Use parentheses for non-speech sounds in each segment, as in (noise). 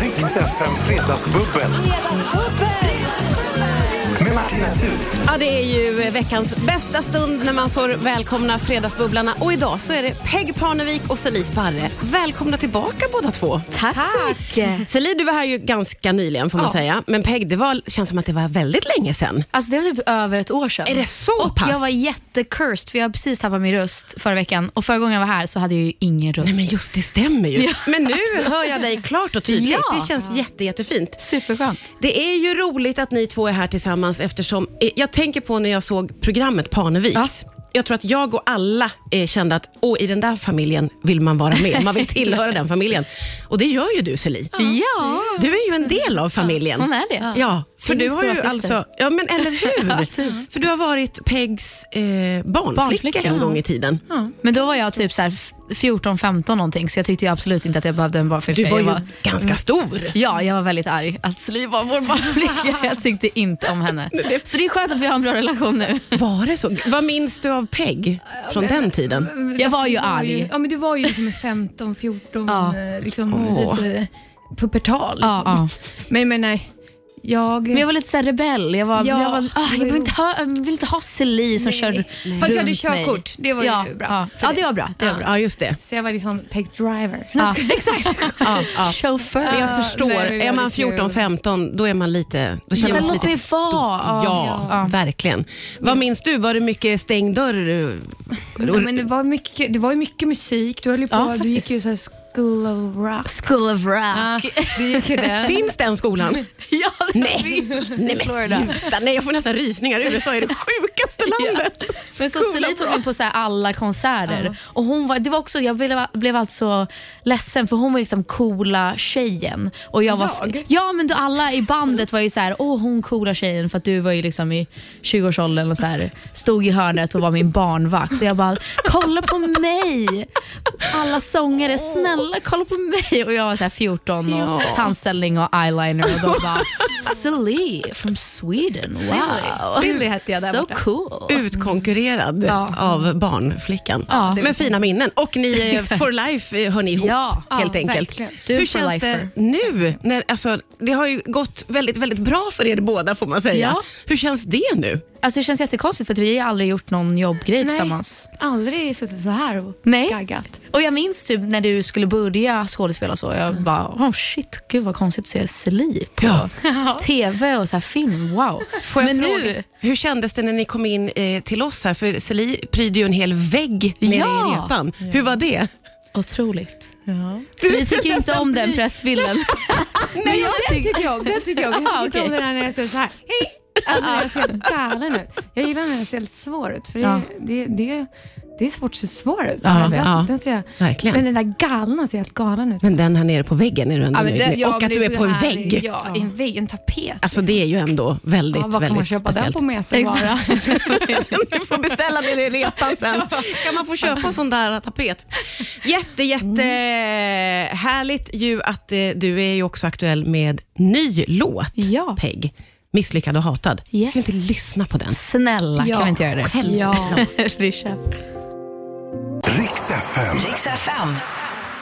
Rix FM Fredagsbubbel med Martina Thun. Ja, det är ju veckans bästa stund när man får välkomna Fredagsbubblarna. Och idag så är det Peg Parnevik och Celie Sparre. Välkomna tillbaka båda två. Tack, så mycket. Celie, du var här ju ganska nyligen får man Ja. säga. Men Peg, det var, känns som att det var väldigt länge sedan. Alltså det var typ över ett år sedan. Är det så och pass? jag var jättecursed för jag har precis tappat min röst förra veckan. Och förra gången jag var här så hade jag ju ingen röst. Nej men just det stämmer ju. Men nu hör jag dig klart och tydligt. Ja. Det känns jätte, jättefint. Superskönt. Det är ju roligt att ni två är här tillsammans eftersom eh, jag tänker på när jag såg programmet Parneviks. Jag tror att jag och alla eh, kände att Åh, i den där familjen vill man vara med. Man vill tillhöra den (laughs) familjen. Och det gör ju du Celie. Ja, Du är ju en del av familjen. hon är det. Ja, för är du min har ju stora syster. alltså, ja men (laughs) eller Ja, hur? typ. För du har varit Pegs eh, barnflicka Barnflicka, en ja. gång i tiden. Ja. Men då var jag typ så här f- 14, 15 någonting så jag tyckte ju absolut inte att jag behövde en Du barnflicka. var ju jag var, ganska stor. ja, jag var väldigt arg att Sli var vår (laughs) barnflicka. jag tyckte inte om henne. Så det är skönt att vi har en bra relation nu. Var det så? Vad minns du av Peg från den tiden? Jag var ju Du var ju, arg. ja, men du var ju liksom en 15, 14, (laughs) Ja. eh, liksom, Åh. lite pubertal. Ja, ja. Men, men nej, jag... Men jag var lite så här rebell. Jag, var, Ja, jag, var, det ah, var jag, ju vill inte ha, jag vill inte ha Celie som körde Fast jag hade runt mig. körkort, det var ja, ju bra. Ja, för ja dig. det var bra. Det var bra. Ja, just det. Så jag var liksom peg driver. Ja, exakt. Ja, Ah. ja. Men Chaufför. jag Ja, förstår. nej, men är vad man det kul. 14-15, då är man lite... Då känner Ja. man sig Låt lite mig stor. vara. Ja, Ja, ja. verkligen. Vad minns du? Var det mycket stängd dörr? Ja, men det, var mycket, det var ju mycket musik, du höll ju på, Ja, du faktiskt. gick ju så här school of rock. School of Ja, Rock. du gick ju det. Finns den skolan? (laughs) Ja, det er Nej, nej men sluta. Nej, jag får nästan rysningar. USA är (laughs) det sjukaste landet. (laughs) Men så Celine tog mig på så här alla konserter. Ja. Och hon var, det var också, jag blev, blev alltså ledsen för hon var liksom coola tjejen. Och jag var, Jag? Ja men då alla i bandet var ju så här, åh hon coola tjejen för att du var ju liksom i 20-årsåldern och så här, stod i hörnet och var min barnvakt. Så jag bara, kolla på mig! Alla sångare, snälla kolla på mig! Och jag var så här 14 och Ja. tandställning och eyeliner och de bara, Celine from Sweden, wow! Silly hette jag där So borta. cool! Utkonkurrerad Ja. av barnflickan. Ja. Med fina minnen. Och ni är for life, eh, hör ni ihop. Ja. helt Ja, enkelt. verkligen. Du är Hur for känns lifer. det nu? När, alltså, det har ju gått väldigt, väldigt bra för er båda får man säga. Ja. Hur känns det nu? Alltså det känns jättekonstigt för att vi har aldrig gjort någon jobbgrej Nej. tillsammans. Aldrig suttit så här och Nej. gaggat. Och jag minns typ när du skulle börja skådespela och så. Jag bara, oh shit, gud vad konstigt att se Celie på Ja. tv och så här film. Wow. Får jag Men fråga, nu, Hur kändes det när ni kom in eh, till oss här? För Celie prydde ju en hel vägg nere i Ja. repan. Hur var det? otroligt. Celie tycker inte om (laughs) den pressbilden. Nej, jag det tycker jag om. Det tycker (laughs) jag om. Ah, Jag tycker okej. om det där när jag ser så här. Hej! Alltså, jag ser helt galen ut. Jag gillar när jag ser lite svår ut, för det, Ja. det, det, det är svårt att se svår ut. Ja, jag vet. ja. Sen ser jag, Verkligen. men Men, den där galna ser helt galen ut. den här nere på väggen är du ändå nöjd med. Och att du är på en vägg. Ja, men det är så här, ja, en vägg, en tapet. Alltså det är ju ändå väldigt, ja, vad kan man väldigt köpa speciellt. den på metervara? Du får beställa den i repan sen. (laughs) Kan man få köpa en sån där tapet? Jätte, jätte Mm. härligt ju att eh, du är ju också aktuell med ny låt, Ja. Peg. Misslyckad och hatad. Yes. Ska vi inte lyssna på den? (laughs) Snälla, Ja. kan vi inte göra det? Ja. (laughs) vi kör. Rix FM.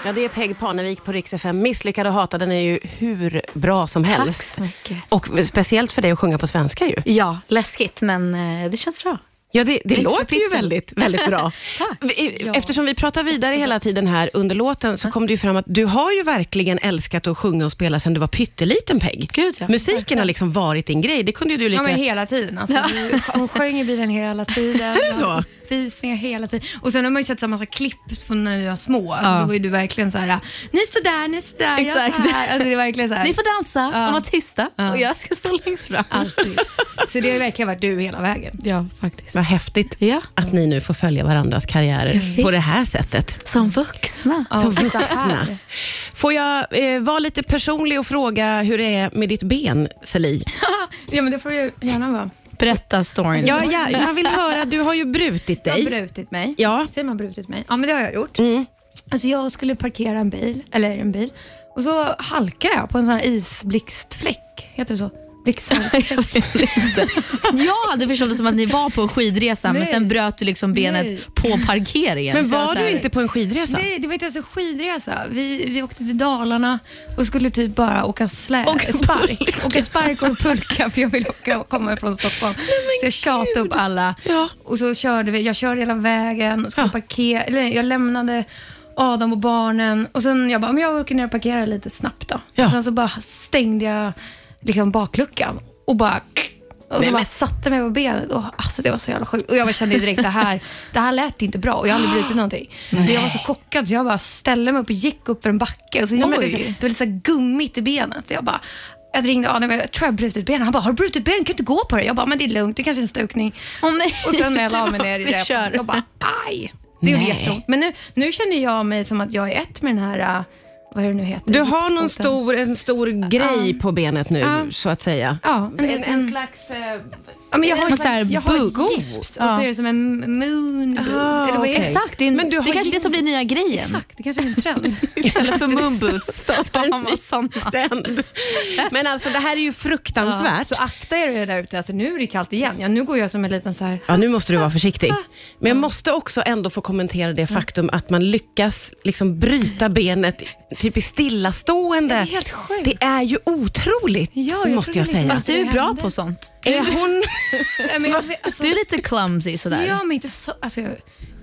Ja, det är Peg Parnevik på Rix FM. Misslyckad och hatad, den är ju hur bra som Tack helst. så mycket. Och speciellt för dig att sjunga på svenska ju. Ja, läskigt men eh, det känns bra. Ja, det, det Mitt låter ju kapitel. väldigt, väldigt (laughs) bra. Tack. Vi- Ja. Eftersom vi pratar vidare hela tiden här under låten så kom det ju fram att du har ju verkligen älskat att sjunga och spela sedan du var pytteliten Peg. Gud, ja. Musiken har liksom varit din grej. Det kunde ju du Ja, men lite... hela tiden. Alltså, vi- Hon sjöng i bilen hela tiden. (laughs) Är det så? Visningar hela tiden. Och sen har man ju sett så här massa klipp från när vi var små. Alltså, Ja. Då var ju du verkligen så här, ni står där, ni står där, Exakt. jag är här. Alltså, det är verkligen så här. Ni får dansa Ja. och vara tysta Ja. och jag ska stå längst fram. Alltid. Så det har verkligen varit du hela vägen. Ja, faktiskt. Vad häftigt Ja. att ni nu får följa varandras karriärer på det här sättet. Som vuxna. Som titta vuxna. här. Får jag eh, vara lite personlig och fråga hur det är med ditt ben, Celie? (laughs) Ja, men det får du gärna vara. Berätta storyn. Ja, ja, jag vill höra. Du har ju brutit Jag har dig. brutit mig. Ja. Mm. Säger man brutit mig? Ja, men det har jag gjort. Alltså jag skulle parkera en bil, eller en bil, och så halkade jag på en sån här isblixtfläck. Heter det så? Rikshallen. (laughs) Jag vet inte. Jag hade förstått det som att ni var på en skidresa men Nej. sen bröt du liksom benet Nej. på parkeringen. Men Så jag var så här- du inte på en skidresa? Nej, det var inte ens en skidresa. Vi, vi åkte till Dalarna och skulle typ bara åka slä, Åka spark. Åka spark och pulka för jag ville åka, komma ifrån Stockholm. så jag tjatade upp alla. Ja. Och så körde vi, jag körde hela vägen, och skulle Ja. parkera, eller jag lämnade Adam och barnen och sen jag bara, men jag åker ner och parkerar lite snabbt då. Ja. Och sen så bara stängde jag liksom bakluckan och bara och så Nej, bara men- satte mig på benet och alltså det var så jävla sjukt. Och jag bara kände ju direkt (laughs) det här, det här lät inte bra och jag har aldrig (gasps) brutit någonting. Jag var så chockad så jag bara ställde mig upp och gick upp för en backe och så kände jag liksom, Oj. det, det var lite så här gummigt i benet. Så jag bara, jag ringde Adam, jag tror jag har brutit benet. Han bara, har du brutit benet? Kan du inte gå på det? Jag bara, men det är lugnt, det är kanske är en stukning. Åh, nej. Och (laughs) sen när jag (laughs) la Det mig var- ner i vi det, kör. jag bara, aj. Det gjorde Nej. jätteont. Men nu, nu känner jag mig som att jag är ett med den här, äh, vad är det nu heter? Du har någon Giftfoten. stor, en stor grej på benet nu, Ja. så att säga. Ja, en, En, liten- en slags... eh, ja, men jag har, någon så här jag har boost. gips och så Ja. är det som en moon boot. Ah, Eller vad är det? okej. Exakt, det, är en, Men du det har kanske är det jeans- som blir nya grejen. Exakt, det kanske är en (laughs) trend. Istället för moonboots (laughs) så startar har en ny man sådana. trend. Men alltså det här är ju fruktansvärt. Så akta er där ute, alltså, nu är det kallt igen. Ja, nu går jag som en liten så här... (laughs) Ja, nu måste du vara försiktig. Men jag måste också ändå få kommentera det faktum att man lyckas liksom bryta benet typ i stillastående. Det är helt sjukt. Det är ju otroligt, Ja, jag måste trodde jag liksom säga. att- Fast du är bra på sånt. Är (laughs) hon... Nej, men jag, vet- alltså, Du är lite clumsy sådär. Ja, men inte så... Alltså, jag,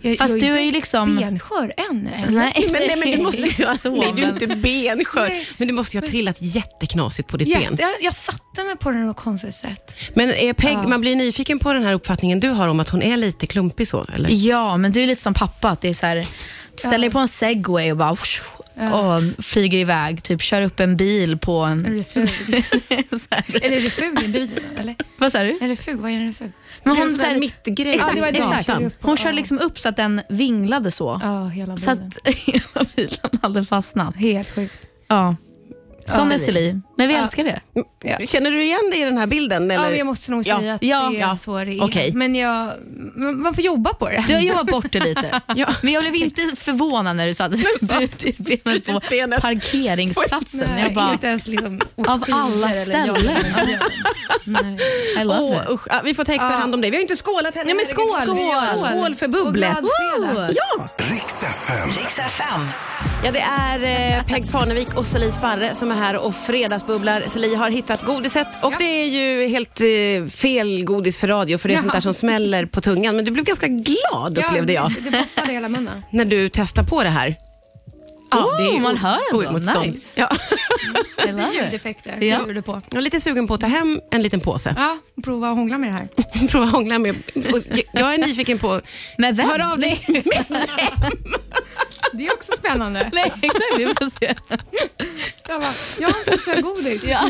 jag, Fast jag du är ju inte liksom- benskör än. eller? Nej, Men, nej, men du (laughs) måste ju... så, nej, du är men- inte benskör. Nej. Men du måste ju ha trillat jätteknasigt på ditt Jätte- ben. jag, jag satte mig på den på något konstigt sätt. Men är Peg, man blir nyfiken på den här uppfattningen du har om att hon är lite klumpig så, eller? Ja, men du är lite som pappa. Att det är så här, ställer dig på en segway och bara och flyger iväg. Typ kör upp en bil på Är en... (laughs) du ful? så här. Eller är du ful i bilen? Eller? Vad sa du? Är du ful? Vad är du ful? Men Det är en hon, sån så här, där mittgrej. Ja, exakt, det var det. exakt. Ja. hon kör liksom upp så att den vinglade så. Ja, hela Så bilen. att (laughs) hela bilen hade fastnat. Helt sjukt. Ja. Sån Ja. är Celie. Men vi Ja. älskar det. Ja. Känner du igen dig i den här bilden? Ja, Eller? men jag måste nog Ja. säga att Ja. det är Ja. så det är. Okej. Men jag, men man får jobba på det. Du har jobbat bort det lite. Ja. Men jag blev inte förvånad när du sa att du brutit benet på Brutit benet. parkeringsplatsen. Nej, jag bara, inte (laughs) ens liksom Av alla ställen. Nej. I love Åh, it. usch. Ja, vi får ta extra Ja. hand om dig. Vi har ju inte skålat heller. Nej, men herregud. skål! Skål, skål för bubblet! Och glad fredag. Ja. Riks FM. Riks FM. ja, det är eh, Peg Parnevik och Celie Sparre som är här och fredagsbubblar. Celie har hittat godiset och det är ju helt eh, fel godis för radio för det är Ja. sånt där som smäller på tungan. Men du blev ganska glad upplevde jag Det poppade i hela munnen. när du testade på det här. Oh, ju man o- hör ändå. oemotstånd. Nice. Ja. I love it. Ljudeffekter. Ja. Ja. Det på. Jag är lite sugen på att ta hem en liten påse. Ja, prova att hångla med det här. Prova att hångla med. Och jag- Jag är nyfiken på... Med vem? Hör av dig. Nej, (laughs) Det är också spännande. nej, exakt. Vi får se. Jag bara, jag har inte så godis. Ja.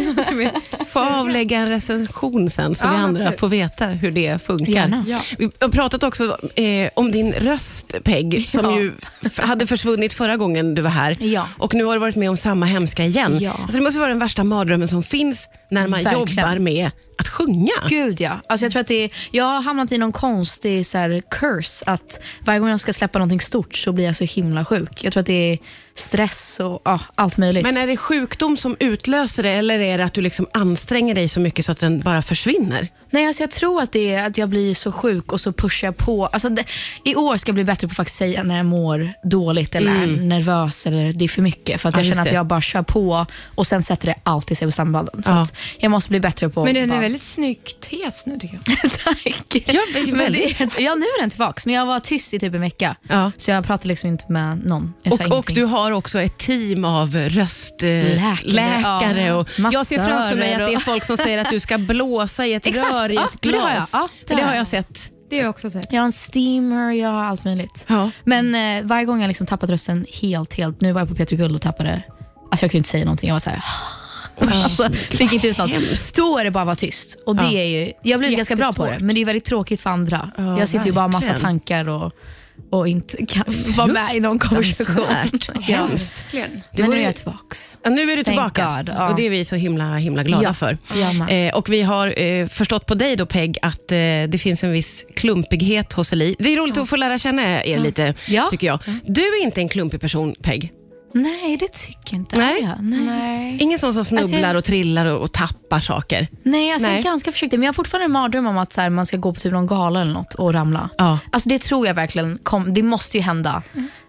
få avlägga en recension sen, så Ja, vi andra absolut. får veta hur det funkar. Gärna. Ja. Vi har pratat också eh, om din röst, Peg, som Ja. ju f- hade försvunnit förra gången du var här. Ja. Och nu har du varit med om samma hemska igen. Ja. Alltså, det måste vara den värsta mardrömmen som finns när man Verkligen. jobbar med att sjunga. Gud ja. Alltså jag, tror att det är, jag har hamnat i någon konstig så här, curse. Att varje gång jag ska släppa någonting stort så blir jag så himla sjuk. Jag tror att det är stress och ja, allt möjligt. Men är det sjukdom som utlöser det eller är det att du liksom anstränger dig så mycket så att den bara försvinner? Nej, alltså jag tror att det är att jag blir så sjuk och så pushar jag på. Alltså det, I år ska jag bli bättre på att faktiskt säga när jag mår dåligt eller är nervös eller det är för mycket. För att Ja, jag just känner att det. jag bara kör på och sen sätter det alltid sig på sambanden. Så Ja. att jag måste bli bättre på Men den är bara- väldigt snygg tes nu tycker jag. (laughs) Tack. Ja, men men det- det- (laughs) ja, nu är den tillbaka. Men jag var tyst i typ en vecka. Ja. Så jag pratade liksom inte med någon. Jag sa Och, och ingenting. du har också ett team av röstläkare. Läkare, läkare ja. och jag ser framför mig att det är Massörer och- folk som säger att du ska blåsa (laughs) i ett Exakt, rör i ja, ett men det har glas. jag. Ja, det För det har har jag. jag sett. Det har jag också sett. Jag har en steamer, jag har allt möjligt. Ja. Men eh, varje gång jag liksom tappat rösten helt, helt. Nu var jag på Peter Guld och tappade. Alltså jag kunde inte säga någonting. Jag var så här. (laughs) alltså, fick inte ut något. Då är det bara att vara tyst. Och det Ja. är ju, jag har blivit ganska bra på det, Jättesvårt. men det är väldigt tråkigt för andra. Ja, jag sitter ju bara med massa verkligen. tankar och, och inte kan vara med i någon konversation. Ja. Hemskt. Verkligen. Men nu vore är ju- jag tillbaks. Ja, nu är du Thank tillbaka God, ja. och det är vi så himla, himla glada Ja, för. jag med. Eh, och vi har eh, förstått på dig då Peg att eh, det finns en viss klumpighet hos Eli. Det är roligt att få lära känna er lite Ja. tycker jag. Du är inte en klumpig person Peg. Nej, det tycker inte Nej. jag. Nej. Nej. Ingen sån som Alltså, snubblar jag- och trillar och, och tappar hoppar saker. Nej, alltså jag Nej. är ganska försiktig. Men jag har fortfarande en mardröm om att så här, man ska gå på typ någon gala eller något och ramla. Ja. Mm. Alltså det tror jag verkligen, kom, det måste ju hända.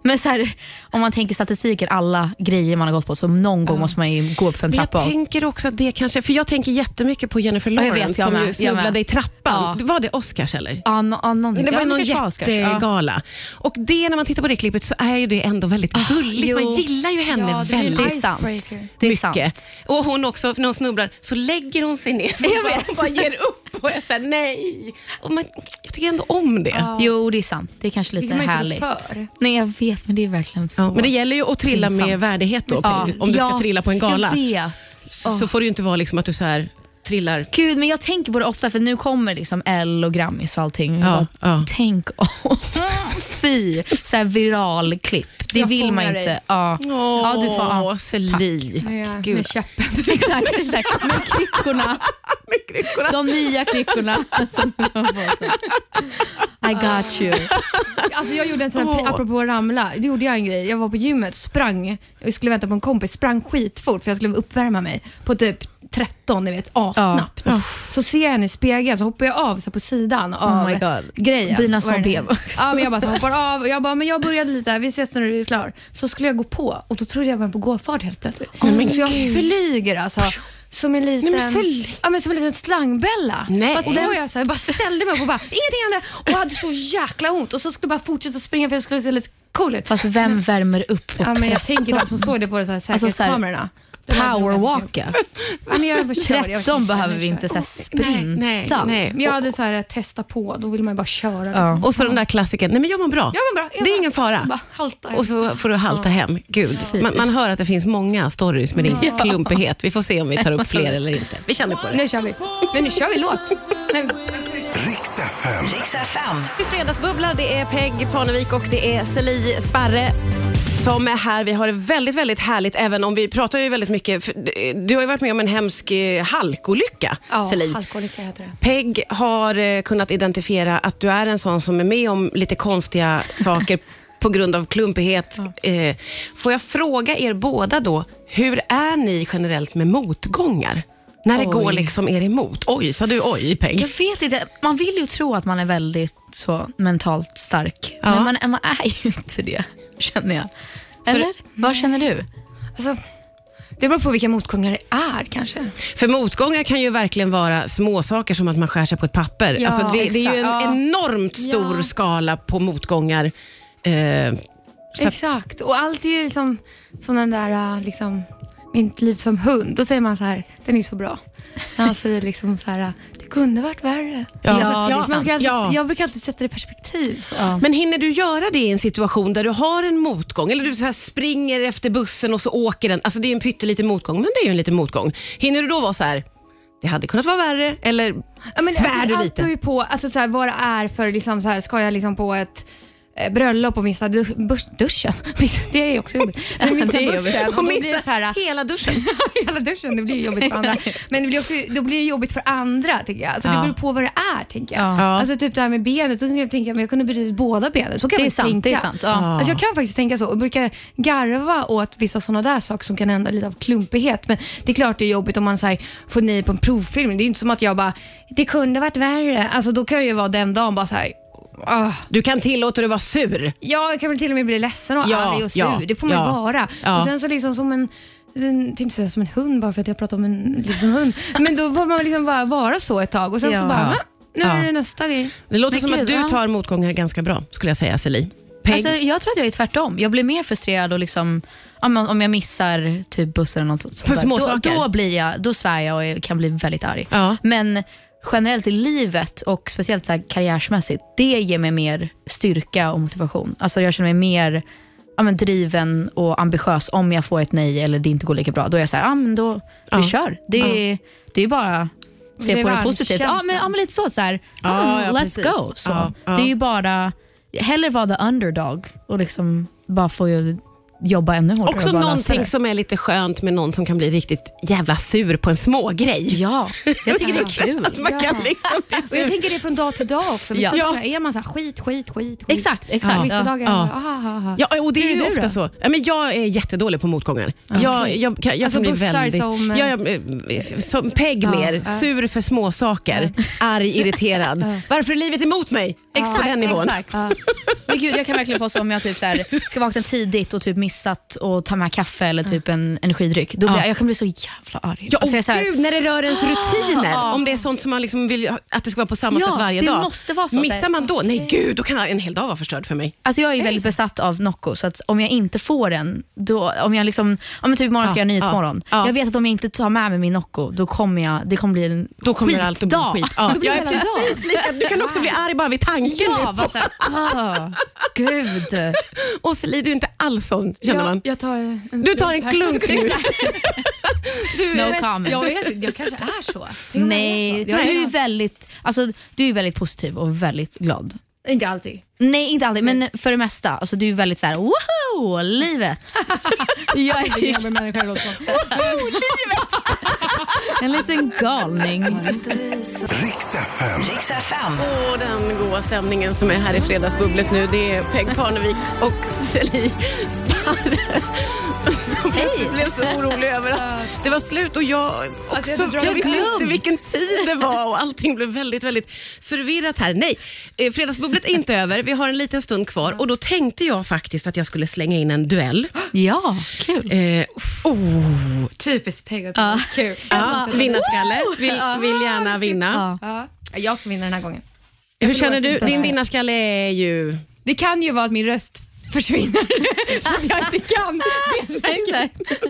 Men så här, om man tänker statistiken, alla grejer man har gått på, så någon gång måste man ju gå upp för en Men jag trappa. av. tänker också att det kanske, för jag tänker jättemycket på Jennifer jag Lawrence vet, jag som med, ju jag snubblade med. i trappan. Ja. Var det Oscars eller? Ja, no, ja, någonting. Det Ja, var men någon kanske Oscars. Ja. jättegala. Och det, när man tittar på det klippet så är ju det ändå väldigt gulligt. Man Ah, jo. gillar ju henne Ja, det blir väldigt Det är Icebreaker. sant. Det är sant. mycket. Och hon också, när hon snubblar så lägger hon sig ner Jag och bara, vet. bara ger upp. Och jag säger nej. Och man, jag tycker ändå om det. Ja. Jo, det är sant. Det är kanske lite kan man ju inte härligt. rå för. Nej, jag vet, men det är verkligen så. Ja, men det gäller ju att trilla med pinsamt. värdighet då, Ja. om du ska Ja, trilla på en Jag gala. vet. Så får det ju inte vara liksom att du så här trillar. Gud, men jag tänker på det ofta för nu kommer liksom L och Grammis och allting. Ja, Ja, ja. Tänk om. (laughs) Fy, så här viral klipp. Det Jag vill man fångar ju inte. dig. Ja. ja, du får. Åh, Ja. Celine. Med, Gud. med käppen. Exakt, exakt. Men kryckorna, de nya kryckorna. (laughs) som man får så här. I got you. Alltså jag gjorde en sån här, Åh. apropå att ramla, då gjorde jag en grej. Jag var på gymmet, sprang, jag skulle vänta på en kompis, sprang skitfort för jag skulle uppvärma mig på typ 13, ni vet, assnabbt. Ja. Så ser jag henne i spegeln så hoppar jag av så här, på sidan Oh av my god. grejen. Dina små Vad är det nu? ben också. Ja, men jag bara så här, hoppar av och jag bara, men jag började lite, vi ses när du är klar. Så skulle jag gå på och då trodde jag var på gåfart helt plötsligt. men så jag gud. flyger alltså. Som en liten, Nej, men Celine. ja, men som en liten slangbella. Nej. Fast då var jag så här, jag bara ställde mig upp och bara, ingenting hände. Och jag hade så jäkla ont och så skulle jag bara fortsätta springa för jag skulle se lite cool ut. Fast vem värmer upp på Ja, men jag 13? tänker de som såg det på de så här Alltså, så här- säkerhetskamerorna. Powerwalka. (laughs) Ja, men jag bara körde, jag (laughs) var 13 jättenöjd. behöver vi inte så här Nej, sprinta. nej, nej. Men Jag hade så här, testa på, då vill man ju bara köra. Ja. Liksom. Och så den där klassiken, nej men jag mår bra. Jag var bra. Jag det är bara- ingen fara. Bara halta. Och så får du halta hem. Gud, man, man hör att det finns många stories med din klumpighet. Vi får se om vi tar upp (laughs) fler eller inte. Vi känner på det. Nu kör vi. Men nu kör vi låt. Nej, Riks FM. Riks FM. I Fredagsbubbla, det är Peg Parnevik och det är Celie Sparre som är här. Vi har det väldigt, väldigt härligt, även om vi pratar ju väldigt mycket. för Du har ju varit med om en hemsk eh, halkolycka, ja, Celine. halkolycka heter det. Peg har eh, kunnat identifiera att du är en sån som är med om lite (laughs) konstiga saker på grund av klumpighet. Eh, Får jag fråga er båda då, hur är ni generellt med motgångar? När det Oj. går liksom er emot? Oj, sa du oj, Peg? Jag vet inte. Man vill ju tro att man är väldigt så mentalt stark, Ja. men man, man är ju inte det, känner jag. Eller? Vad känner du? Alltså, det beror på vilka motgångar det är kanske. För motgångar kan ju verkligen vara små saker som att man skär sig på ett papper. Ja, alltså det, det är ju en exakt. Ja. enormt stor Ja. skala på motgångar. Eh, så att, Exakt. Och allt är ju liksom som den där, äh, liksom, mitt liv som hund. Då säger man så här, den är ju så bra. När han säger liksom så här, äh, det kunde varit värre. Ja, Alltså, det är man ska sant. alltid, Ja. Jag brukar alltid sätta det i perspektiv. Så. men hinner du göra det i en situation där du har en motgång? Eller du så här springer efter bussen och så åker den. Alltså det är ju en pytteliten motgång, men det är ju en liten motgång. Hinner du då vara så här, det hade kunnat vara värre, eller Ja, men svär alltså, du Allt beror lite? ju på alltså, så här, vad det är för, liksom, så här, ska jag liksom på ett eh, bröllop och missa dusch, bus- duschen? (laughs) Missa- Det är ju också (laughs) jobbigt. Men missa Det är jobbigt. bussen, och då Och blir det så här, äh, missar hela duschen. (laughs) hela duschen, det blir ju jobbigt för andra. (laughs) Men det blir också, då blir det jobbigt för andra tycker jag. Alltså, Ja. Det beror på vad det är tänker jag. Ja. Alltså typ det här med benet, då tänker jag tänka, men jag kunde brutit båda benen. Så kan Det är jag sant, tänka. det är sant, ja. Alltså, jag kan faktiskt tänka så och brukar garva åt vissa sådana där saker som kan hända lite av klumpighet. Men det är klart det är jobbigt om man så här, får nej på en provfilm. Det är ju inte som att jag bara, det kunde varit värre. Alltså då kan jag ju vara den dagen bara så här. "Ah, Du kan tillåta dig att vara sur. Ja, jag kan väl till och med bli ledsen och Ja, arg och sur. ja, det får man ja, ju vara. ja. Och sen så liksom som en en- tänkte inte säga som en hund bara för att jag pratar om en liksom hund. Men då får man liksom bara vara så ett tag och sen Ja. så bara, "Va? nu Ja. är det nästa grej. Det låter Men som att gud, du ja. tar motgångar ganska bra, skulle jag säga Celine. Peg, Alltså, jag tror att jag är tvärtom. Jag blir mer frustrerad och liksom, om, om jag missar typ bussen eller något sånt. För där, små då, saker. då, blir jag, då svär jag och jag kan bli väldigt arg. Ja. Men generellt i livet och speciellt så här karriärsmässigt, det ger mig mer styrka och motivation. Alltså jag känner mig mer ja, men driven och ambitiös om jag får ett nej eller det inte går lika bra. Då är jag så här, ja men då, Ja. vi kör. Det, är det är bara se på det positivt. Ja men, ja men lite så, så här, ja, Ja, men ja, let's precis. go. Så. Ja, ja. Det är ju bara, hellre vara the underdog och liksom bara få ju jobba ännu hårdare Också och bara lösa någonting det. som är lite skönt med någon som kan bli riktigt jävla sur på en smågrej. Ja, (laughs) jag tycker det är kul. Att man kan liksom bli Och jag sur. tänker det från dag till dag också. Vissa Ja. dagar är man så här, skit, skit, skit, skit. Exakt, exakt. Och Vissa Ja. dagar är Ja. man, aha, aha, aha. Ja, och det Hur är är ju du ofta då? så. Ja, men jag är jättedålig på motgångar. Ah, Jag, jag, jag, jag Alltså kan bli bussar väldigt, som, eh, ja, jag, eh, som Peg Ja, mer. eh. ja. Sur för småsaker, arg, (laughs) irriterad. Varför är livet emot mig? Exakt, på den nivån. exakt. Men gud, jag kan verkligen få så om jag typ så här, ska vakna tidigt och typ missat och ta med kaffe eller typ en energidryck. Då blir jag, jag kan bli så jävla arg. Ja, Alltså, jag är och så här, gud, när det rör ens rutiner. Ah. Om det är sånt som man liksom vill att det ska vara på samma Ja, sätt varje det dag. måste vara så. Missar man då, nej gud, då kan en hel dag vara förstörd för mig. Alltså jag är ju väldigt besatt av Nocco, så att om jag inte får den, då, om jag liksom, om typ imorgon ska Ja, jag göra Nyhetsmorgon. ja, ja. Jag vet att om jag inte tar med mig min Nocco, då kommer jag, det kommer bli en Då kommer skitdag. det alltid bli skit. Ja, Då blir jag det är hela dagen. precis lika. Du kan också bli arg bara vid tanken. typ. Ja, bara såhär, ah, gud. (laughs) Och så lider du inte alls sån, känner man. Jag, jag tar en Du tar en klunk (laughs) nu. (laughs) Du, No jag vet- comment. Jag, vet, jag kanske är så. Tänk om jag Nej, är du så. är ju väldigt, alltså, du är ju väldigt positiv och väldigt glad. Inte alltid. Nej, inte alltid, men för det mesta. Alltså, du är väldigt så här: woho, livet. jag Alltså, är Jag människa också. en liten galning. Riks FM. Åh, den goa stämningen som är här i Fredagsbubblet nu. Det är Peg Parnevik och Celine Sparre som plötsligt blev så orolig över att det var slut och jag också. jag hade jag dragit visste glömt. inte vilken tid det var och allting blev väldigt, väldigt förvirrat här. Nej, eh, Fredagsbubblet är inte över. Vi har en liten stund kvar och då tänkte jag faktiskt att jag skulle slänga in en duell. Ja, kul. Eh, oh, Typiskt Peg. Ja. Kul. ja, vinnarskalle. Vill, vill gärna vinna. Ja. Ja. Jag ska vinna den här gången. Hur känner förlorar du? inte. Din vinnarskalle är ju... Det kan ju vara att min röst (laughs) försvinner. (laughs) så att jag inte kan. Exakt.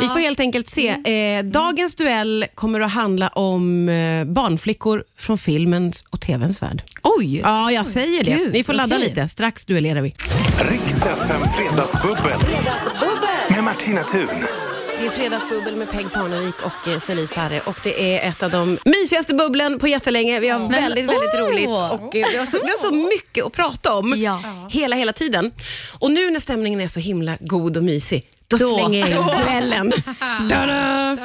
Vi får helt enkelt se. Eh, dagens duell kommer att handla om eh, barnflickor från filmens och tvns värld. Oj. Ja, jag säger det. Gud, Ni får ladda okej. lite. Strax duellerar vi. Riks FM Fredagsbubbel. Med Martina Thun. Det är Fredagsbubbel med Peg Parnevik och eh, Celine Sparre. Och det är ett av de mysigaste bubblen på jättelänge. Vi har väldigt, väldigt åh! roligt och eh, vi har, så, vi har så mycket att prata om Ja. hela, hela tiden. Och nu när stämningen är så himla god och mysig, då, Då. slänger jag in (laughs) duellen. Ta-da!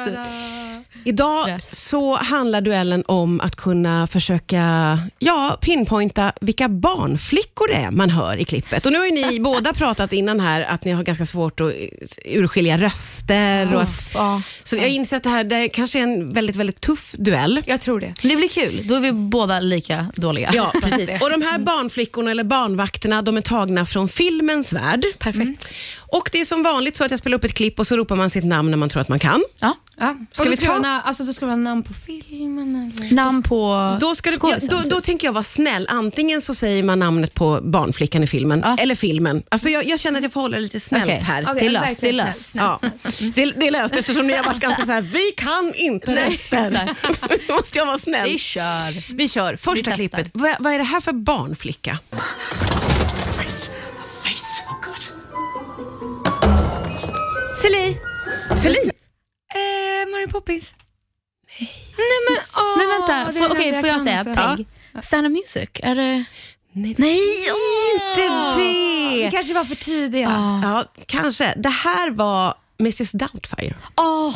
Idag Stress. så handlar duellen om att kunna försöka ja, pinpointa vilka barnflickor det är man hör i klippet. Och Nu har ju (laughs) ni båda pratat innan här att ni har ganska svårt att eh, urskilja röster. Och att, ja. så jag inser att det här det här kanske är en väldigt, väldigt tuff duell. Jag tror det. Det blir kul. Då är vi båda lika dåliga. (laughs) Ja, precis. Och de Mm. här barnflickorna eller barnvakterna, de är tagna från filmens värld. Mm. Perfekt. Och det är som vanligt så att jag spelar upp ett klipp och så ropar man sitt namn när man tror att man kan. Ja. Ja. Ska Ska och vi då, ta- ska ta... alltså, då ska det vara namn på filmen eller? Namn på Då, ska du, ja, skådisen, då, typ. då tänker jag vara snäll. Antingen så säger man namnet på barnflickan i filmen, Ja. eller filmen. Alltså jag, jag känner att jag får hålla det lite snällt Okej. här. Okej. Det är löst, det är löst. Ja. Det, det är löst eftersom ni har varit ganska så här, vi kan inte röster. (laughs) Då måste jag vara snäll. Vi kör. Vi kör. Första Vi testar. klippet. Vad, vad är det här för barnflicka? face. A face. Oh, God. Celine. Celine? Eh, Mary Poppins. Nej. (laughs) Nej men åh. Men vänta, det får, är okej, det får jag kan säga inte. Peg? Sound of Music, är det... Nej, Nej, inte Det det. kanske var för tidiga. Ah. Ja, kanske. Det här var Mrs Doubtfire. Åh,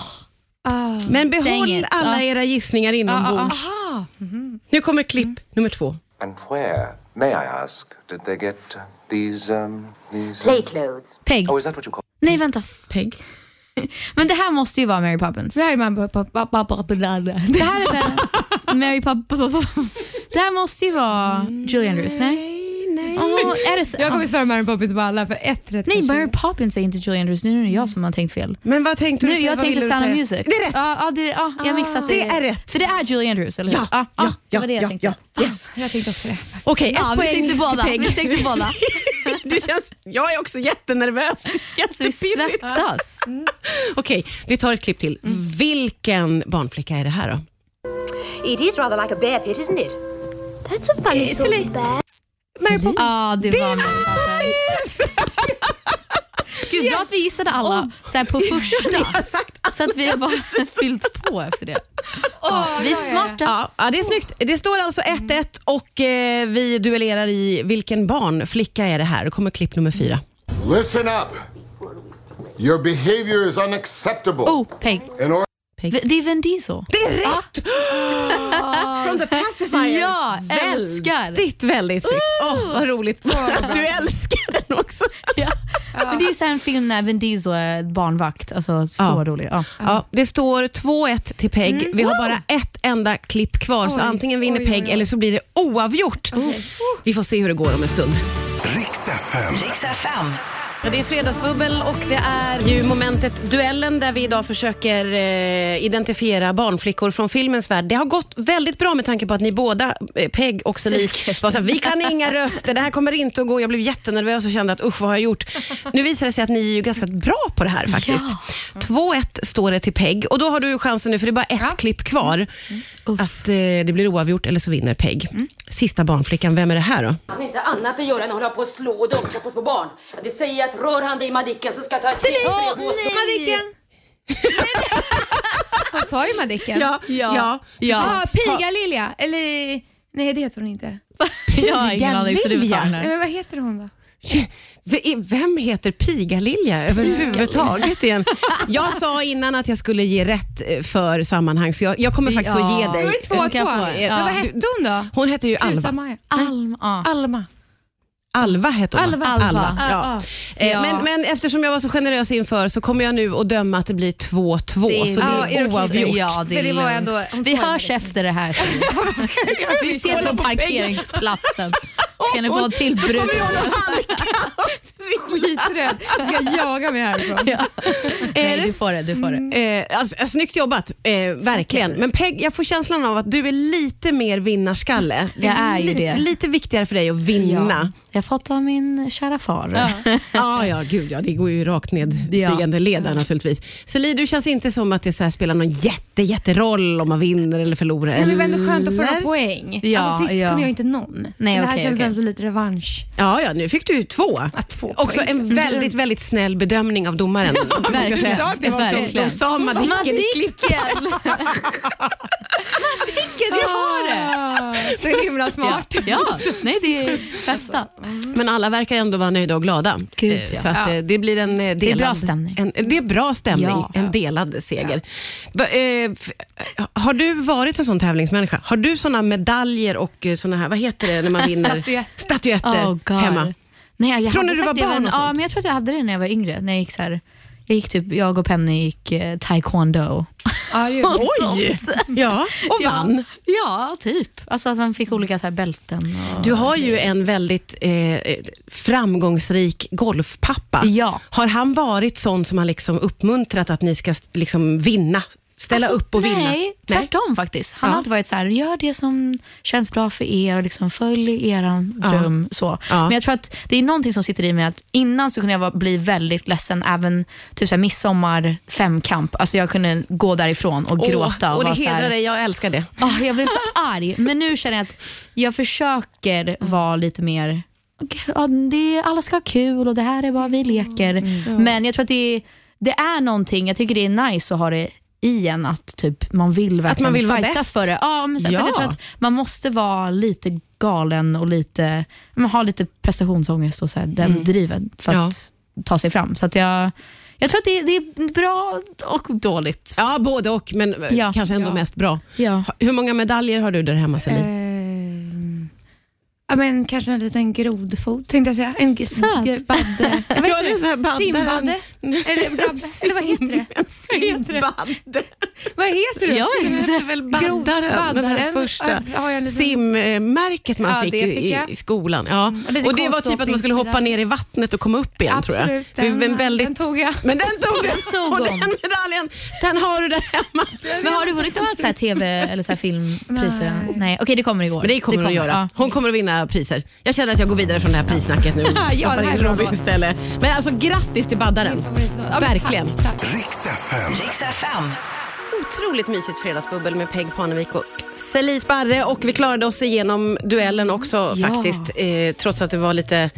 Men behåll Dang it. alla Ja. Mm. era gissningar inombords. Nu kommer klipp nummer två. And where, may I ask, did they get uh, these, um, these... Play clothes. Peg. Oh, is that what you call Nej, vänta. Peg? Men det här måste ju vara Mary Poppins. Det här är Mary Poppins. Det här är väl Mary Poppins. Det här måste ju vara Julie Andrews, nej? nej. Åh, är det så? Jag kommer svära Mary Poppins på alla för ett rätt. Nej, kanske. Mary Poppins är inte Julie Andrews. Nu är det jag som har tänkt fel. Men vad tänkte Nu, du säga? jag Vad ville tänkte du Sound of säga? Music. Det är rätt. Ah, Ja, ja, det, ja jag mixat det. Det är rätt. För det är Julie Andrews, eller hur? Ja, ja, ja, det ja, var det jag ja, tänkte. Yes. Jag tänkte också det. Okej, ett Ja, vi poäng tänkte till båda. Peg. Vi tänkte båda. (laughs) det känns, jag är också jättenervös. Så vi Jättepirrigt. svettas. Mm. Okej, vi tar ett klipp till. Mm. Vilken barnflicka är det här då? It is rather like a bear pit, isn't it? That's a funny sort of bear. Ja, det var Mary Poppins. (laughs) Gud, bra att vi gissade alla så här (laughs) på första. har sagt Så att vi har bara fyllt på efter det. Ja, vi är smarta. Ja, ja, det är snyggt. Det står alltså 1-1 Mm. och eh, vi duellerar i vilken barnflicka är det här? Då kommer klipp nummer fyra. Listen up. Your behavior is unacceptable. Oh, Peg. In order V- Det är Vin Diesel. Det är rätt! From the pacifier. Ja, älskar. Väldigt, väldigt snyggt. Åh, vad roligt att (laughs) du älskar den också. Ja. Men det är ju så här en film när Vin Diesel är barnvakt. Alltså, så Ja. rolig. Ja. Ja, det står 2-1 till Peg. Vi har bara ett enda klipp kvar, så Oj, antingen vinner oj, oj, Peg oj. eller så blir det oavgjort. Vi får se hur det går om en stund. Riks FM. Ja, det är Fredagsbubbel och det är ju momentet Duellen där vi idag försöker eh, identifiera barnflickor från filmens värld. Det har gått väldigt bra med tanke på att ni båda, eh, Peg och Selik, Säkert. var så här, vi kan inga röster, det här kommer inte att gå. Jag blev jättenervös och kände att usch, vad har jag gjort? Nu visar det sig att ni är ju ganska bra på det här faktiskt. Mm. 2-1 står det till Peg och då har du ju chansen nu, för det är bara ett klipp Mm. kvar, att eh, det blir oavgjort eller så vinner Peg. Mm. Sista barnflickan, vem är det här då? Han har inte annat att göra än att hålla på och slå och dunka på små barn. Ja, Det säger att rör han dig i Madicken så ska jag ta ett steg Åh, på dig. (laughs) Madicken! Hon sa ju Madicken. Ja. ja. Ah, Piga Lilja, eller nej det heter hon inte. Jag har ingen aning så du får ta den Nej, här. men vad heter hon då? V- Vem heter Pigalilja överhuvudtaget? Igen? Jag sa innan att jag skulle ge rätt eh, för sammanhang, så jag, jag kommer faktiskt Ja. att ge Det dig. var två Hon kan få två. en. Men Ja. vad hette hon då? Hon hette ju Tusan Alva. Maja. Alm, ja. Alma. Alva hette hon. Alva. Alva. Ja. Eh, Ja. Men, men eftersom jag var så generös inför så kommer jag nu att döma att det blir 2-2. Det är- så det Ja, är är det oavgjort. Ja, det är Men det var lugnt. ändå- hon Vi svarade hörs efter det här. Vi ses på parkeringsplatsen. Ska ni få en till brud? Skiträdd. Jag jagar mig (laughs) härifrån. Ja. Nej, det du s- får det. Du får det. Eh, alltså, eh, snyggt jobbat, eh, verkligen. Men Peg, jag får känslan av att du är lite mer vinnarskalle. Det Jag är ju lite, det. lite viktigare för dig att vinna. Jag har fått av min kära far. (laughs) Ja, ja, gud ja. Det går ju rakt nedstigande led där naturligtvis. Celine, du känns inte som att det så här spelar någon jätte, jätteroll om man vinner eller förlorar. Mm. Men det var ändå skönt att få eller? några poäng. Ja, alltså, sist ja. kunde jag inte någon. Nej, så det här okej, känns okej. ändå lite revansch. Ja, ja, nu fick du ju två. Ja, två Också poäng. en väldigt, väldigt snäll bedömning av domaren. Om jag ska säga. (laughs) Verkligen. Det var som Verkligen. de sa Madicken i klipp. Vi har det! Ah, så himla smart. Ja, nej det är bästa. Men alla verkar ändå vara nöjda och glada. Gud, Eh, ja. Så att, eh, det blir en eh, delad... bra stämning. En, det är bra stämning. Ja. En delad seger. Va, eh, f- har du varit en sån tävlingsmänniska? Har du såna medaljer och eh, såna här, vad heter det när (laughs) man vinner? Statyetter. Statyetter Oh, God. hemma. Nej, jag Från hade när du var säkert barn även- och sånt? Ja, men jag tror att jag hade det när jag var yngre. När jag, gick så här, jag, gick typ, jag och Penny gick eh, taekwondo. (laughs) Ja, ju. Oj! Ja, och vann. Ja, typ. Alltså att man fick olika så här, bälten. Och... Du har ju en väldigt eh, framgångsrik golfpappa. Ja. Har han varit sån som har liksom uppmuntrat att ni ska liksom vinna? Ställa upp och vinna? Alltså, Nej, tvärtom faktiskt. Han Ja. har alltid varit så här, gör det som känns bra för er och liksom följ eran dröm. Så. Ja. Men jag tror att det är någonting som sitter i mig att innan så kunde jag vara, bli väldigt ledsen, även typ så här, midsommar femkamp. Alltså jag kunde gå därifrån och Åh, gråta. Och, och det vara så här, hedrar dig, jag älskar det. Åh, Ah, jag blev så arg, men nu känner jag att jag försöker vara lite mer "Okej, ja, det, alla ska ha kul och det här är bara vi leker. Men jag tror att det, är- det är någonting, jag tycker det är nice att ha det i en att typ, man vill verkligen man vill vara fightas bäst. för det. Ja, men så, här, För Ja. att jag tror att man måste vara lite galen och lite, man har lite prestationsångest och så här, den driven för Mm. Ja. att ta sig fram. Så att jag, jag tror att det, det är bra och dåligt. Ja, både och, men eh, Ja. kanske ändå Ja. mest bra. Ja. Ha- Hur många medaljer har du där hemma, Celine? Ehm, Ja, men kanske en liten grodfot tänkte jag säga. En g- Söt. g- badde. Jag vet Ja, det är inte. så här baddaren. Simbadde. Eller gabbe. Eller vad heter (laughs) det? Simbadde. Vad heter det? Jag vet Den inte. hette väl Grov- Baddaren, den här baddaren. första Ja, har jag en liten- simmärket man Ja, fick, det i- fick jag. Mm. i, i skolan. Ja. Och lite Och Det var typ att man skulle hoppa ner i vattnet och komma upp igen tror jag. Absolut, Det är den- en väldigt... den tog jag. Men den (laughs) tog Den du! tog Och den hon. medaljen, den har du där hemma. Men har du vunnit något så här tv eller så här filmpriser? Nej. Nej. Okej, det kommer igår. Men det kommer hon att göra. Ja. Hon kommer att vinna priser. Jag känner att jag går vidare från det här prissnacket nu. (laughs) Ja, ja, Stoppar det här in är bra Robin val. istället. Men alltså grattis till baddaren. Ja, men Verkligen. tack, tack. Riks FM. Otroligt mysigt fredagsbubbel med Peg Parnevik och Celie Sparre och vi klarade oss igenom duellen också Ja. faktiskt. Eh, trots att det var lite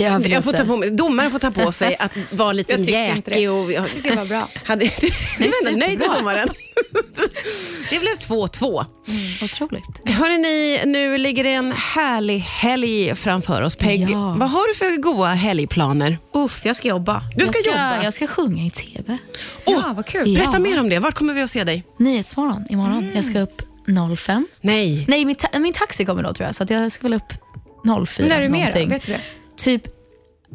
Jag vet Jag får inte. ta på mig, domaren får ta på sig att vara lite (laughs) Jag tyckte inte det. mjäkig. Och, jag, Det var bra. Hade, (laughs) du är ändå nöjd med superbra. domaren. (laughs) Det blev 2-2. Otroligt. Hörrni, nu ligger det en härlig helg framför oss. Peg, Ja. vad har du för goa helgplaner? Uff, jag ska jobba. Du ska jag ska jobba. Jag ska sjunga i TV. Åh, vad kul. Berätta Ja. mer om det. Vart kommer vi att se dig? Nyhetsmorgon imorgon. Jag ska upp 05. Nej. Nej, min, ta- min taxi kommer då tror jag, så att jag ska väl upp 04. När är du med då? någonting. Vet du det? Typ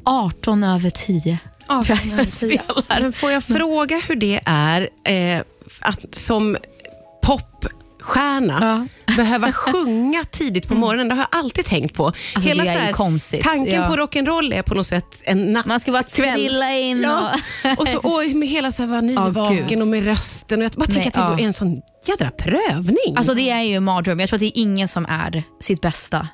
18 över 10. 18 tror jag över jag 10. spelar. Men får jag fråga hur det är eh, att som popstjärna (laughs) behöva sjunga tidigt på morgonen. Det har jag alltid tänkt på. Mm. Alltså, det är så ju konstigt, Tanken ja. på rock'n'roll är på något sätt en natt. Man ska bara kväll. trilla in Ja. (laughs) och... Och så och med hela (laughs) så här, var nyvaken gud. och med rösten. Och jag bara tänker Nej, att det ja. är en sån jädra prövning. Alltså det är ju en mardröm. Jag tror att det är ingen som är sitt bästa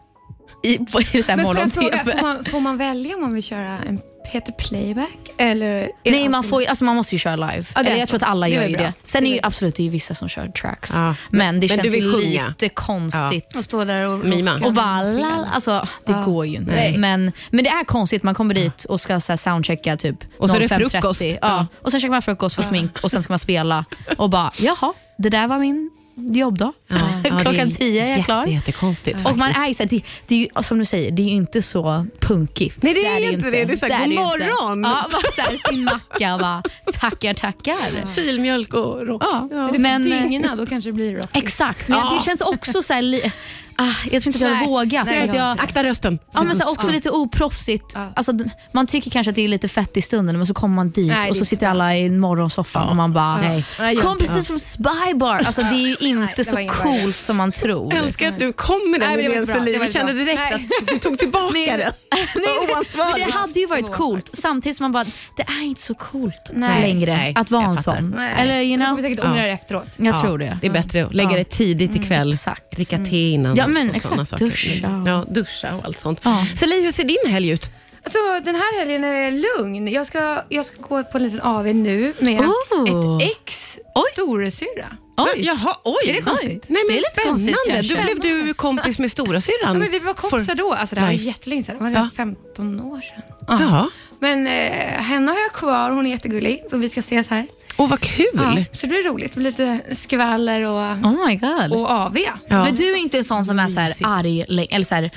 i, på, i så här Men får, jag fråga, morgon-tv. får, man, får man välja om man vill köra en Peter Playback? Eller är det Nej, man, alltid- får, ju- alltså man måste ju köra live. Ja, det Eller är jag tror att bra. alla Det är gör väl ju bra. det. Sen är Det ju är absolut det är ju vissa som kör tracks. Ja. Men det Men du känns vill sjunga. lite konstigt. Och stå där och Mima. rocka Och bara, någon lall, film. alltså, det går ju inte. Nej. Men, men det är konstigt, man kommer dit och ska så här, soundchecka typ Och så är det 05.30. frukost. Ja. Ja. Och sen käkar man frukost, får smink och sen ska man spela och bara, jaha, det där var min jobbdag. (laughs) Klockan tio är jag klar. Jätte, jättekonstigt Och man faktiskt. är ju så här, det, det är ju, som du säger, det är ju inte så punkigt. Nej, det är inte det. Det är så här, ju "God inte." morgon. Ja, man så här, sin macka och bara, tackar, tackar. Filmjölk och rock. Ja, Är det men- men, dyngerna, då kanske det blir rock. Exakt, men Ja. det känns också så här, li- ah, jag tror inte att jag Nej, har vågat. nej, för att jag Alltså, jag, Akta rösten. Ja, men så här, också lite oproffsigt. Ja. Alltså, d- man tycker kanske att det är lite fett i stunden, men så kommer man dit Nej, och det så är sitter alla i morgonsoffan och man bara Nej. Nej, jag- “Kom precis från Spybar”. Alltså, det är ju Nej, inte det så var ingen bra idé. coolt som man tror. Jag älskar att du kom med Nej, den men det var idén inte bra. Celine. Det var Jag inte kände bra. direkt Nej. att du tog tillbaka (laughs) den. Vad Men oansvarigt. det hade ju varit Det var coolt, samtidigt som man bara, det är inte så coolt Nej. längre Nej, att vara jag en fattar. sån. Eller you Men de kommer know, säkert ångra det efteråt. jag Ja, tror det. Det är bättre att lägga det tidigt ikväll. exakt. Dricka te innan Ja, men och exakt. såna saker. Mm. Duscha. Ja, duscha och allt sånt. Ja. Celine, hur ser din helg ut? Alltså, den här helgen är lugn. Jag ska, jag ska gå på en liten AV nu med Oh. ett ex storasyrra. Oj. Jaha, oj. Är det konstigt? Nej, men Det är lite spännande. konstigt kanske. Då blev du kompis med storasyrran. Ja, men vi var kompisar då. Alltså, det här var life. jättelänge sedan. Det var Ja. 15 år sedan. Ja. Men eh, henne har jag kvar. Hon är jättegullig. Så vi ska ses här. Och vad kul. Ja, så det blir roligt. Det blir lite skvaller och, Oh my god. och AV. Ja. Men du är inte en sån som är så här Mysigt. arg lä- eller så här,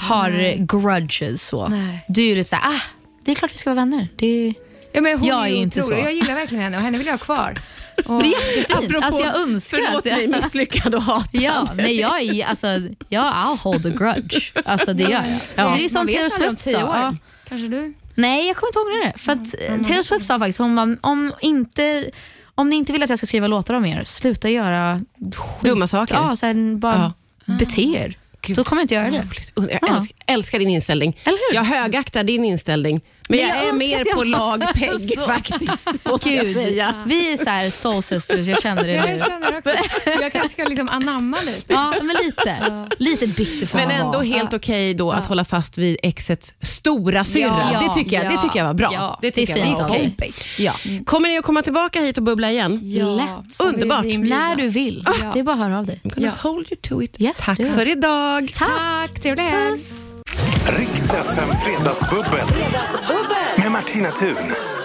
har grudges. Så. Nej. Du är ju lite så här, ah, det är klart vi ska vara vänner. Det är, Ja, men hon Jag är är ju inte otrolig. så. Jag gillar verkligen henne och henne vill jag ha kvar. det är jättefint. alltså, jag önskar förlåt att jag... mig, misslyckad och hatad. Eh, Ja, nej, jag är alltså, jag I'll hold a grudge. Alltså, det gör jag. Ja. Det är som Man vet Taylor aldrig om Swift sa. tio år. Ja. Kanske du? Nej, jag kommer inte ångra det. För att Mm. eh, Taylor Swift sa faktiskt, hon bara, om, inte, om ni inte vill att jag ska skriva låtar om er, sluta göra skit. Dumma saker. Ja, sen bara Ah. bete er. Gud. Så kommer jag inte göra det. Jag Ja. älsk, älskar din inställning. Eller hur? Jag högaktar din inställning. Men, Men jag, är jag önskar mer att jag på var (laughs) lag Peg så. faktiskt, måste jag Gud, säga. vi är så här soul sisters, jag känner det Ja, nu. jag känner också. Jag kanske ska liksom anamma lite. Ja, men lite. Lite bitter får Men man ändå vara. helt okej då att hålla fast vid exets stora syrra. Ja, det, tycker jag, det ja, tycker jag var bra. ja, det tycker det är jag var fint av okej. dig. Ja. Kommer ni att komma tillbaka hit och bubbla igen? Ja, Lätt. som vi Underbart. blir inbjudna. När du vill. Det är bara att höra av dig. I'm gonna hold you to it. Yes, Tack do it. för idag. Tack, trevlig helg. Riks FM Fredagsbubbel. Med Martina Thun.